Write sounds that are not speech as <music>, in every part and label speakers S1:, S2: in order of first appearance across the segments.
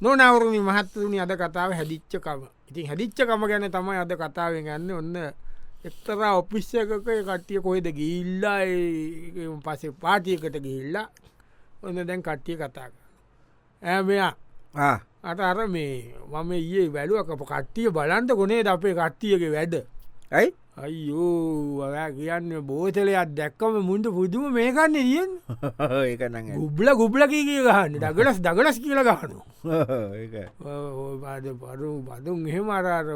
S1: නොනවරුණි මහත්තුනි අද කතාව හැදිච්චකම ඉතින් හැදිච්චකම ගැන තමයි අද කතාව ගන්න ඔන්න එක්තරා ඔපිස්සකක කට්ටිය කොහෙද ගිල්ලා පසේ පාටියකට ගිහිල්ලා ඔන්න දැන් කට්ටිය කතා ඇමයා
S2: <laughs> Ah,
S1: අට අර මේ මම ඒ වැලුවකප කට්ටිය බලන්ට ගොනේ අපේ කට්ටියගේ වැඩ
S2: ඇයි
S1: අයියෝ ඔයා කියන්න බෝතලයක් දැක්කම මුන්ට පුදුම මේකන්න දියෙන්
S2: ඒකන
S1: ගුබ්ල ගුබ්ලකී කිය ගහන්න දගලස් දගලස් කියල ගහනු බද පරු බදුන් එහෙම අරර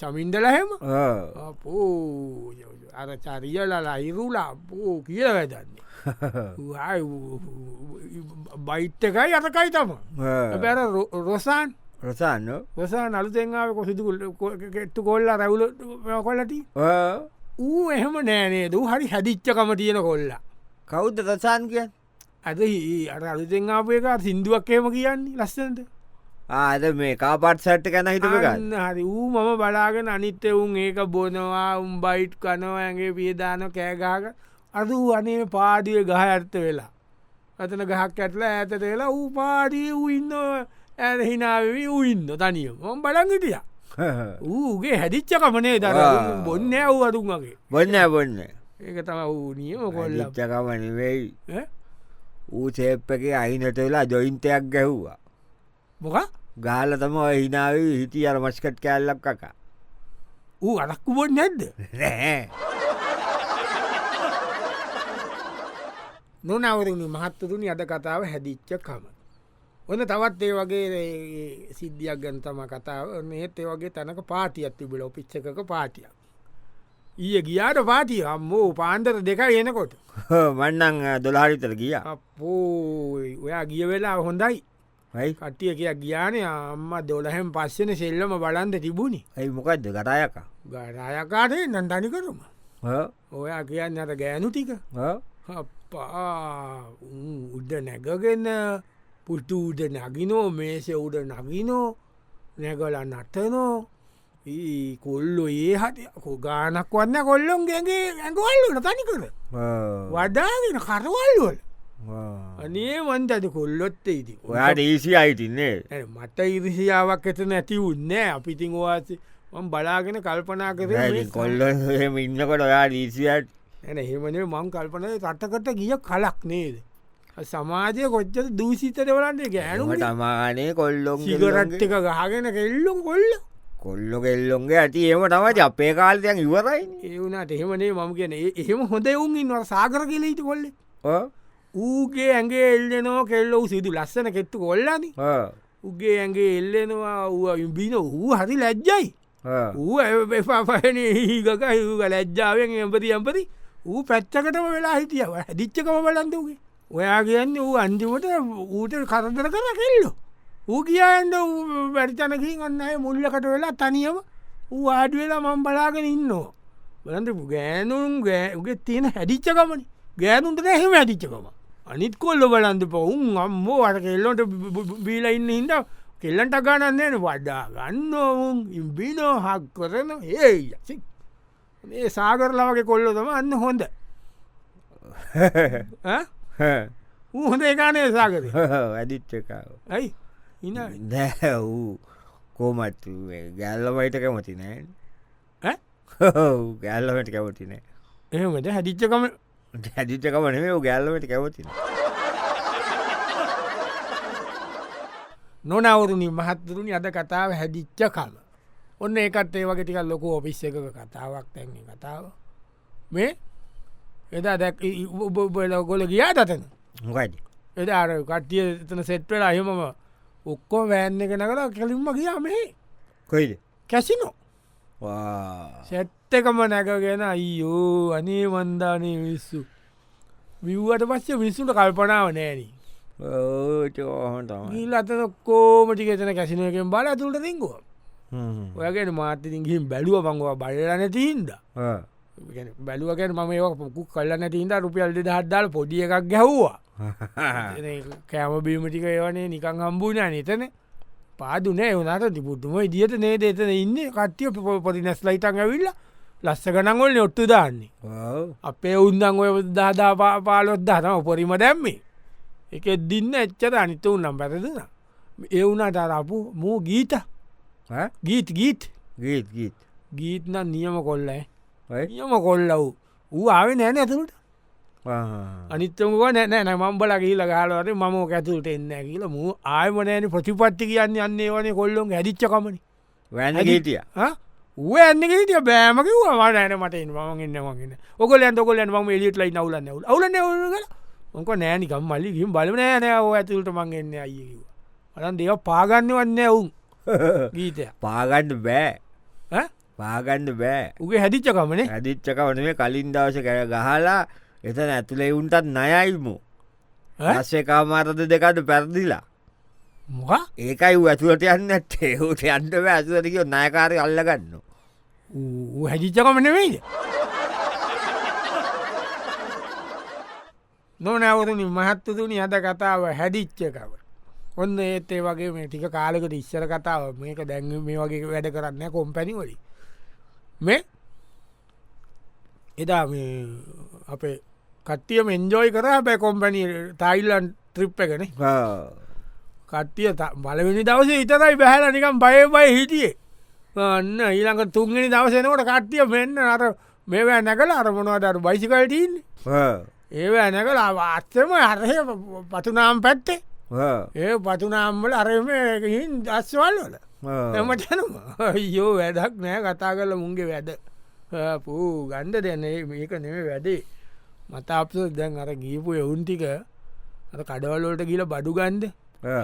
S1: චමින්දලහෙම පෝ අර චරියලල අයිරුලා පෝ කියල වැදන්නේ බෛත්්‍යකයි අතකයි තම පැර රොසාන්
S2: රසාන්න
S1: රොසාන් අලුතෙන්ාව කොසිතුකුල් කෙට්ටු කොල්ල රැවුල කොල්ලට ඌ එහෙම නෑනේ දූ හරි හැදිච්චකම තියෙන කොල්ලා
S2: කෞද්ද රසාන් කිය
S1: ඇද අර අලුතෙන් ආපයක සිින්දුවක්කේම කියන්නේ ලස්සනට
S2: ආද මේ කාපට් සට් ගැන හිටප ගන්න
S1: අන්න හරි ඌ මම බලාගෙන අනිත්‍ය උන් ඒක බොනවා උම් බයිට් කනවඇගේ පියදාන කෑගාක අද වූ අනේ පාඩිය ගහ ඇත්ත වෙලා අතන ගහක් ඇටල ඇතට වෙලා ඌ පාඩිය වූ ඉන්න ඇ හිනාවී වූ ඉන්න තනියම මොම් බලංගිටිය
S2: <laughs>
S1: ඌගේ හැදිච්චකමනේ දර
S2: ආ.
S1: බොන්න වූ අතුන්ගේ
S2: බොන්න බොන්න
S1: ඒක තම ඌ නියම කොල්ල
S2: චකමනවෙයි ඌ සේප්පගේ අහිනට වෙලා ජොයින්තයක් ගැහ්වා
S1: මොක
S2: ගාල තම ඔය හිනාව හිටිය අර මස්කට් කෑල්ලක් <laughs> කකා
S1: ඌ අරක්කු බොන්න නැද්ද
S2: නෑ
S1: නොනවරුණු මහත්තතුනි අද කතාව හැදිච්චකම. ඔන්න තවත් ඒ වගේ ඒ සිද්ධියක් ගැන තම කතාව ඒත් ඒ වගේ තැනක පාතියක් තිබිල ඔපිච්චක පාටියක්. ඊය ගියාට පාතිය හම්මෝ පාන්දර දෙක එනකොට
S2: මන්නං දොලාරිතර ගිය
S1: අපෝ ඔයා ගිය වෙලා හොඳයි
S2: යි
S1: කට්ටිය කිය ගියානය අම්ම දොලහෙම පස්සන සෙල්ලම බලන්ද තිබුණි
S2: ඇයි මොකක්ද කටායකා
S1: ගරයකාරය නන්දනි කරුම ඔයා කියන්න අට ගෑනු ටික අප්පා උන් උඩ නැගගෙන පුටු උඩ නගිනෝ මේසේ උඩ නගිනෝ නැගල නටනෝ ඊ කොල්ලො ඒ හට ගානක් වන්න කොල්ලොන් ගැගේ ඇඟවල්ලන තනිකර වඩාගෙන කරවල්වල අනේ මන්ත ඇද කොල්ලොත්ත ඉති
S2: ඔයාට ඊසි අයිතින්නේ
S1: මට ඉරිසිාවක් ඇත නැති උන්නෑ අපිතින් ඔවාසේ මං බලාගෙන කල්පනා කර
S2: කොල්ලොහෙම ඉන්නකොට ඔයා ඩීසියට
S1: ඇන හෙමනේ මං කල්පන රටකට ගිය කලක් නේද. සමාජය කොච්චර දූසිතර වලන්නේ ගෑනුට
S2: තමානේ කොල්ලො
S1: සිගරට් එක ගහගෙන කෙල්ලුම් කොල්ල
S2: කොල්ලො කෙල්ලොන්ගේ ඇති ඒම තමයි අපේ කාල්තයන් ඉවරයි
S1: ඒවුණට එහෙමනේ මම කියන ඒ- එහෙම හොඳ එවුන් ඉන්නවා සාගර කෙලීට කොල්ල ඌගේ ඇගේ එල්ලෙනවා කෙල්ලෝ සිදු ලස්සන කෙත්තු කොල්ලන උගේ ඇගේ එල්ලෙනවා ඌ ඉම්බින ඌ හරි ලැජ්ජයි ඌ එපාපන ඒගක හිග ලැජ්ජාවෙන් එම්පති එම්පති ඌ පැච්චකටම වෙලා හිටියව දිච්චකම බලන්දගේ ඔයා කියන්න ඌ අන්තිමට ඌට කරදර කර කෙල්ලෝ ඌ කියන්ට වැරිතනකින් අන්න අය මුල්ලකට වෙලා තනියම ඌ ආඩ වෙලා මම් බලාගෙන ඉන්නවා බලන්ට ගෑනුම් ගෑගේ තියෙන හැදිච්චකමනි ගෑනුන්ට එහෙම ඇතිච්චකම අනිත් කොල්ල බලන්ද පවුන් අම්මෝ අට කෙල්ලොට බීලා ඉන්න හින්ද කෙල්ලන්ට ගණන්නන වඩා ගන්න ඔවුන් ඉම්බිනෝ හක් කරන ඒයි ඒ සාගරලාවගේ කොල්ල තම අන්න හොඳ ඈ? ඌ හොඳ ඒකානය සාගර
S2: ඇදිච්චකාව
S1: ඇයි ඉන්න
S2: දැ වූ කෝමත් ගැල්ලමයිට කැමති නෑ
S1: ඈ?
S2: ගැල්ලමට කැමති නෑ
S1: එහමට හැදිච්චකම
S2: හැදිච්චකමනේ ගැල්ලමට කැමති
S1: නොනවරුණි මහත්තුරුණි අද කතාව හැදිච්ච කල ඔන්න ඒකත් ඒ වගේටික ලොකු ඔපිස් එක කතාවක් තැන්නේ කතාව මේ එදා දැක් උබල ගොල ගියා තතන
S2: මොකයිද
S1: එදා අර කට්ටිය එතන සෙට්වල අයමම ඔක්කෝ වැෑන්න එක නකලා කෙලින්ම ගියා මේ
S2: කොයිද
S1: කැසිනෝ
S2: වා
S1: සැත්තකම නැකගෙන අයියෝ අනේ වන්දානය විස්සු විව්වට පස්සේ මිනිස්සුට කල්පනාව නෑනී
S2: ඕහන් තමයි
S1: ගිල් අතන කෝමටිකතන කැසිනුවකෙන් බල තුළට තිංගුව ඔයගෙන මාතතිින්ගින් බැලුව පංගවා බලලන තිීන්ද බැලුවගෙන මම ඒ පුක් කල්ලන්න තිීන්ට රුපියල්ද හත්දාල පොඩිය එකක් ගැහ්වා කෑමබීමටික ඒවනේ නිකං හම්බුනා නතන පාදුනේ වනට තිපුටම ඉදිට නේද එතන ඉන්න කට්ටිය ප- පොඩි නැස්ලයිටන් ඇවිල්ල ලස්ස ගනගොල්ල ඔට්ටු දාන්නේ අපේ උන්දන් ඔය දාදා පාලොත් දාතම උපරිම දැම්මේ එක දින්න එච්චර අනිත උන්නම් පැරදින එවුනට අරපු මූ ගීත
S2: ඈ?
S1: ගීත් ගීත්
S2: ගීත් ගීත්
S1: ගීත්න නියම කොල්ලයි
S2: ඔයි?
S1: නියම කොල්ලව් ඌ ආවේ නෑන ඇතුළට
S2: ආහ්.
S1: අනිත්තමක නෑ නෑ මම්බල ගීල ගාලවට මම ඇතුලට එන්න කියල මූ ආයමනෑන ප්‍රතිපත්ති කියන්න යන්නේ වනේ කොල්ලොන් ඇදිච්චකමන
S2: වැන්න
S1: ඇදි-
S2: ගීතිය
S1: ඌ ඇන්න ට බෑමක වා නෑන මට මගන්න මගන්න ඔක ලන්තකොල ම ලිට ලයි නවල නවල අවල නවල ඕක නෑනිකම් මල්ලිකින් බල නෑනෑ ඕ ඇතුළට මංගන්න අයකිව අලන් දෙව පාගන්න වන්න ඔවුන්
S2: <laughs>
S1: ගීතය
S2: පාගන්න බෑ
S1: ඈ?
S2: පාගන්න බෑ
S1: උගේ හැදිච්චකමනේ
S2: ඇදිච්චක වනේ කලින් දවස කර ගහලා එතන ඇතුළේ උන්ටත් නයයිමු
S1: ඈ?
S2: රස්සේ කාමාරද දෙකට පැරදිලා
S1: මොකා
S2: ඒකයි වූ ඇතුවට <laughs> යන්න ඇත්තේ හුට අන්ට ඇතුවටකෝ නයකාරය අල්ලගන්න
S1: ඌ හැදිච්චකමන වෙයිද නොනැවරුණි මහත්තතුනි අද කතාව හැදිච්චකව ඔන්න ඒත් ඒ වගේ මේ ටික කාලෙකට ඉස්සර කතාව මේක දැන් මේ වගේ වැඩ කරන්න කොම්පැනි වලි මේ එදා මේ අපේ කට්ටිය මෙන්ජෝයි කර අපේ කොම්පැනි ටයිල්ලන් ත්‍රිප් එකන කට්ටිය ත- බලවෙනි දවසේ ඉතරයි බැහල නිකම් බය බය හිටියේ අන්න ඊළඟ තුන්ගනි දවසනකොට කට්ටිය මෙන්න අර මේවැ නැකල අරමනවාදර බයිසිකල්ටීන් ඒවැ නැකල අත්තම අරය පතුනාම් පැත්තේ ඒ පතුනාම්බල අරමකින් දස්වල් වල එමටනම යෝ වැඩක් නෑ කතා කරල මුන්ගේ වැඩ පූ ගණ්ඩ දැන මේක නෙම වැඩේ මත අපස දැන් අර ගීපු එවුන්ටික අර කඩවල්ලෝට ගිල බඩු ගන්ඩ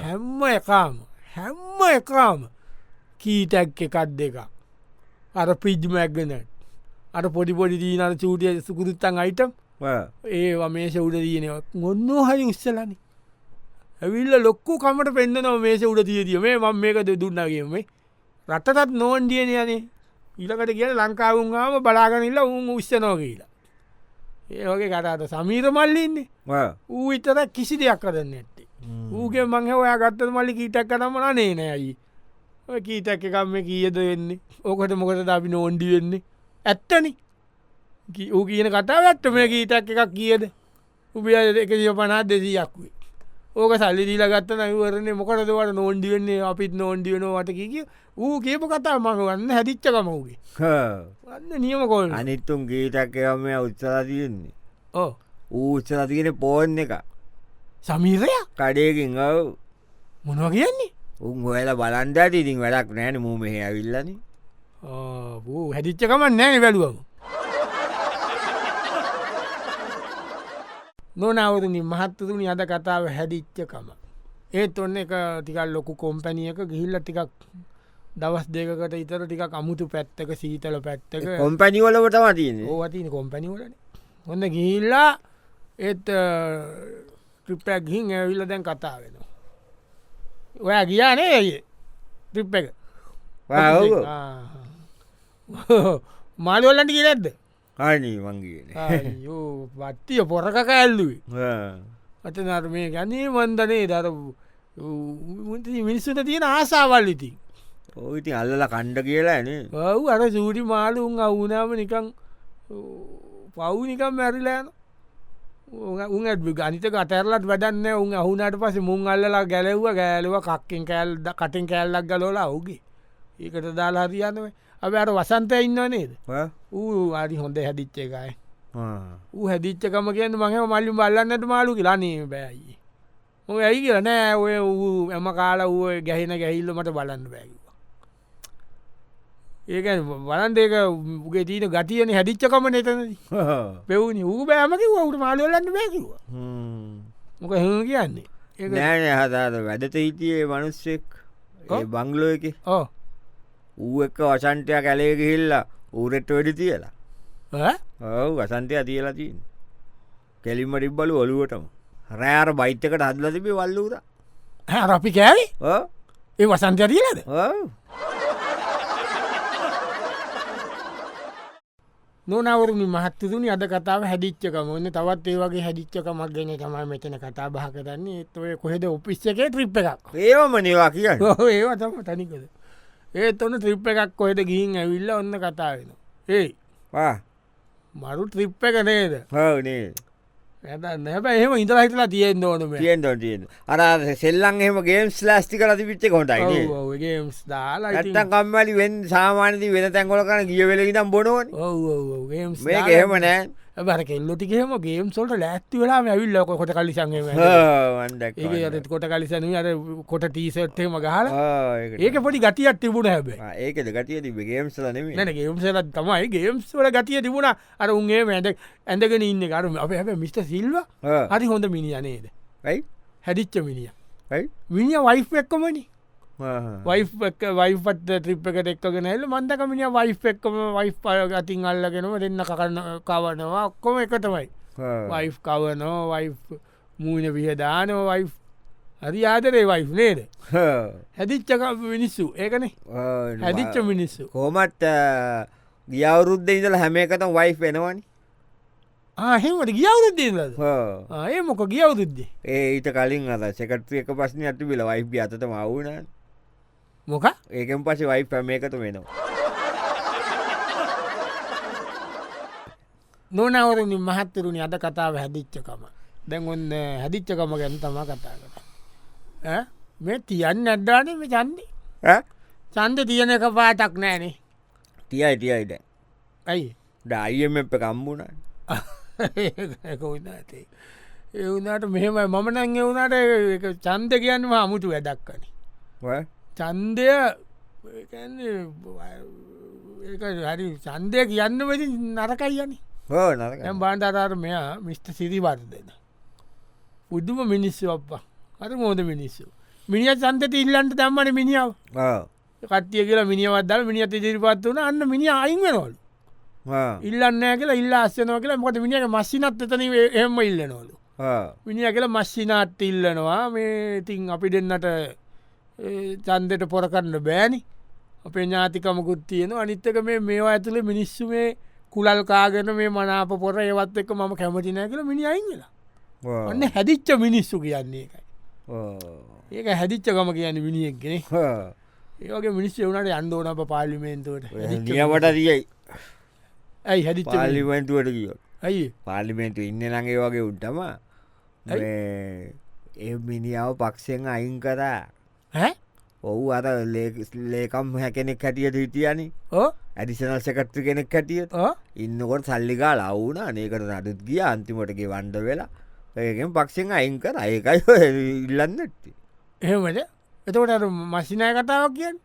S1: හැම්ම එකාම හැම්ම එකාම කීටැක් එකක් දෙක අර පිජ්මැක්ගෙන අර පොඩිපොඩි දීනර චූටිය සුකුරුත්තන් අයිටම් ඒවා මේෂ උඩ දීනවත් ගොන්නෝ හරි උස්සලනි ඇවිල්ල ලොක්කු කමට පෙන්න්න නො මේෂ උඩ තියදිය මේ මං මේකද දුන්නගේම රටටත් නෝන් දියන යනේ ඉලකට කියල ලංකාවුන්හම බලාගනිල්ල උන් උස්සනෝ කියලා ඒවගේ කටාට සමීර මල්ලින්නේ ඌ ඉතර කිසි දෙයක් කරන්න ඇත්තේ ඌගේ මංහ ඔයා ගත්තර මල්ලි කීටක් කනමන නේ නෑයි ඔය කීටක් එකම් මේ කියද වෙන්නේ ඕකට මොකට අපි නෝන්ඩි වෙන්නේ ඇත්තනි කි- ඌ කියන කතාව ඇත්ත මේ කීටක් එකක් කියද උබිය එක පනා දෙසීයක් වේ ඕක සල්ලි දීල ගත්ත නවරන්නේ මොකටද වට නෝන්ඩි වෙන්නේ අපිත් නෝන්ඩි වෙනවාට කිය ඌ කියපු කතා මඟ වන්න හැදිච්චකම ඌගේ වන්න නියම කොල්
S2: අනිත්තුම් ගීටක්කම උත්සලා තියෙන්නේ
S1: ඕ
S2: ඌත්සලා තියෙන පෝන් එක
S1: සමීරය
S2: කඩයකින් ඔව්
S1: මොනව කියන්නේ
S2: උන් හොල බලන්ඩට ඉතින් වැඩක් නෑන මූ මෙහ ඇවිල්ලන
S1: බූ හැදිච්චකමන් නෑන වැැලුවම නොනවරනි මහත්තතුනි අද කතාව හැදිච්චකම ඒත් ඔන්න එක තිකල් ලොකු කොම්පැනියක ගිහිල්ල ටිකක් දවස් දෙකට ඉතර ටිකක් අමුතු පැත්තක සීතල පැත්තක
S2: කොම්පැනිවලටම තියන්නේ
S1: ඕවතින කොම්පැනිවලන හොඳ ගිහිල්ලා ඒත් ත්‍රිප්පැක් ගිහින් ඇවිල්ල දැන් කතා වෙනවා ඔයා ගියානේ ඇයි ත්‍රිප් එක <laughs> මාලවලට කියලද
S2: හනී මංගේන
S1: පත්තිය පොරක ඇල්ලුවේ අත නර්මය ගැනේ වන්දනේ දරපු මිනිස්සුට තියෙන ආසාවල් ඉති
S2: ඕඉති අල්ලල කණ්ඩ කියලා න
S1: ඔව් අර සූටි මාලුන් අවුනාම නිකං පව්නිකම් මැරිලෑන උත් ගනිත කතරලත් වැඩන්න උන් අහුනට පස මුං අල්ලලා ගැලව්ව ගෑලුව කක්කෙන් කෑල්ද කටින් කෑල්ලක් ගලෝලා අවුගේ ඒකට දාලා හරියන්නව අප අර වසන්තය ඉන්න නේද ඌ අරි හොඳ හැදිච්ච එකයි ඌ හැදිච්චකම කියන මහම මල්ලි බල්ලන්නට මාලු කියලානේ බෑයි ඔ ඇයි කිය නෑ ඔය ඌ එම කාල ඌ ගැහෙන ගැහිල්ල මට බලන්න බැකිවා ඒක බලන්දක උගේ තීන ගතියන හැදිච්චකම නතනද පෙවුණ ඌ බෑමකි ඌට මාලුවලන්න බැකිවා මොක හ කියන්නේ ඒ
S2: නෑන හතාද වැඩත හිටියේ මනුස්සෙක් ඒ බංගලෝ එක
S1: ඕ
S2: ඌ එක්ක වසන්ටය කැලේ ගිහිල්ලා ඌරෙට්ට වැඩි තියලා ඔව වසන්තය තියලා තින් කෙලින්ම ටිබ්බලු ඔලුවටම රෑර බෛත්‍යකට හදල තිබේ වල්ලූර
S1: රපි කෑවි ඒ වසන්තයතිීලද නොනවරුණි මහත්තතුනි අද කතාව හැදිච්චකම ඔන්න තවත් ඒ වගේ හැදිච්චකමක් ගැන තමයි මෙතන කතා භහ කරන්නේ ඒත් ඔය කොහෙද ඔපිස්ස එක ත්‍රිප් එකක්
S2: ඒවම නිවා කියන්න
S1: ඒවා තම තනිකද ඒත් ඔන්න ත්‍රිප් එකක් කොහෙට ගිහින් ඇවිල්ල ඔන්න කතාාවෙන ඒ මරු ත්‍රිප් එක නේද
S2: හවනේ
S1: නැ එහෙම ඉඳලා හිටලා තියෙන් ඕනම
S2: කියෙන්ට තියෙන අර සෙල්ලන් එහම ගේම්ස් ලස්ටි කලති පිච්ච කොටයි
S1: ගේම්ස් දාලා
S2: ඇත්තන් කම්මලි වෙන් සාමානති වෙන තැන්ගොල කන ගිය වෙල ඉතම් බොනුවන්
S1: ඔවගේම්ස්
S2: මේ එහෙම නෑ
S1: බර කෙල්ලොතිකෙම ගේම් සොල්ට ලැත්ති වෙලා ඇවිල්ලක කොට කලිසන්ගම
S2: හවන්ඩක්
S1: ඒ අත කොට කලිසන අර කොට ටීසට්ම ගහල
S2: ඒක
S1: ඒක පොඩි ගතියක් තිබුණ හැබේ
S2: ඒකද ගටිය තිබ ගේම්ස් ලනෙම
S1: නැන ගේම්සල තමයි ගේම්ස් වල ගතිය තිබුණ අර උන්ගේ මැඩක් ඇඳගෙන ඉන්න කරුම අප හැබ මිට සිල්ව හරි හොඳ මිනිිය නේද
S2: ඇයි
S1: හැදිච්ච මිනිිය
S2: ඇයි
S1: මිනිිය වයිෆ් එක්කමනි වයිෆ් වයිපත් ත්‍රිප්කට එක්කගෙන එල මන්දක මිනිිය වයිෆ් එක්කම වයි් පය ගතින් අල්ලගෙනම දෙන්න කරන්න කවනවා ඔක්කොම එකතමයි වයිෆ් කවනෝ වයි් මූුණ විහදානෝ වයි් හරි ආදරේ වයි් නේද හැදිච්චක මිනිස්සු ඒකනේ හැදිච්ච මිනිස්සු
S2: කෝමත් ගියවුරුද්ධ ඉඳල හැම එකතම් වයි් වෙනවනි
S1: ආහෙමට ගියවුරුද්දේලද ඒ මොක ගියවුදුද්දේ
S2: ඒ ඊට කලින් අද සෙකට්‍රියක පස්සන ඇති බිල වයි් අතත මවුන
S1: මොක
S2: ඒකෙන් පස වයි් පැම එකතු වෙනවා
S1: නොනවරින් මහත්තරුණි අද කතාව හැදිච්චකම දැන් ඔන්න හැදිච්චකම ගැන තමා කතා කර මේ තියන්න අඩ්ඩානම චන්දි
S2: ඈ?
S1: චන්ද තියන එක පාටක් නෑනේ
S2: තියයි තියයිද
S1: ඇයි
S2: ඩයියම එප කම්බුණන්
S1: ඒක වනාතේ ඒ වනාට මෙහෙමයි මම නං එවුනාට චන්ද කියන්න අමුතු වැඩක්කන චන්දය ඒ කියන්නේ ඒක හරි චන්දය කියන්න වෙති නරකයි යන්නේ
S2: හෝ නරක
S1: ඇම් බාන්ධාර මෙයා මිස්ට සිරිවර්ද දෙන. පුද්දුම මිනිස්සු අප්පා අර මෝද මිනිස්සු. මිනිිය සන්තති ඉල්ලන්ට දම්මන මිනිියාව කටය කියලා මිනිියවදල් මිනිියත ඉදිරිපත් වන අන්න මිනි අයින් වෙනවලු ඉල්ලන්නෑ කියලා ඉල්ලා අස්සනවා කියලා මොට මිනිියට මස්සිනත් එතන එම ඉල්ලනවලු. මිනිිය කියලා මස්සිනාත් ඉල්ලනවා මේ ඉතින් අපි දෙන්නට ඒ, චන්දෙට පොර කරන්න බෑනි අපේ ඥාතිකමකුත් තියෙන අනිත්තක මේ මේවා ඇතුළේ මිනිස්සු මේ කුලල් කාගෙන මේ මනාප පොර ඒවත් එක මම කැමතිනය කියල මිනි අයිංගලා ඔන්න හැදිච්ච මිනිස්සු කියන්නේ එකයි ඒක හැදිච්චකම කියන්න මිනිියෙක්ගෙන ඒගේ මිනිස්ස වුණට අන්දෝන අප පාලිමේන්තුවට
S2: නියමට තියයි
S1: ඇයි හැදිච්ච මිනිස්සු.
S2: පාලිමෙන්ටුවට කිය
S1: ඇයි
S2: පාලිමෙන්තු ඉන්න නගේ වගේ උට්ටම ඒ මිනිියාව පක්ෂෙන් අයින් කරා
S1: ඈ?
S2: ඔහු අර ලේ- ලේකම් හැකෙනෙක් හැටියට හිටියනි
S1: ඕ?
S2: ඇඩිසනල් සකට්‍රි කෙනෙක් හැටියට
S1: ඕ?
S2: ඉන්නකොට සල්ලිකා ලවුන අනකට නඩුත් ගිය අන්තිමටගේ වන්ඩ වෙලා ඒකෙන් පක්ෂෙන් අයින්කර අයකයි ඉල්ලන්න ඇත්ති
S1: එහෙමද එතකොට අර මසිනය කතාවක් කියන්න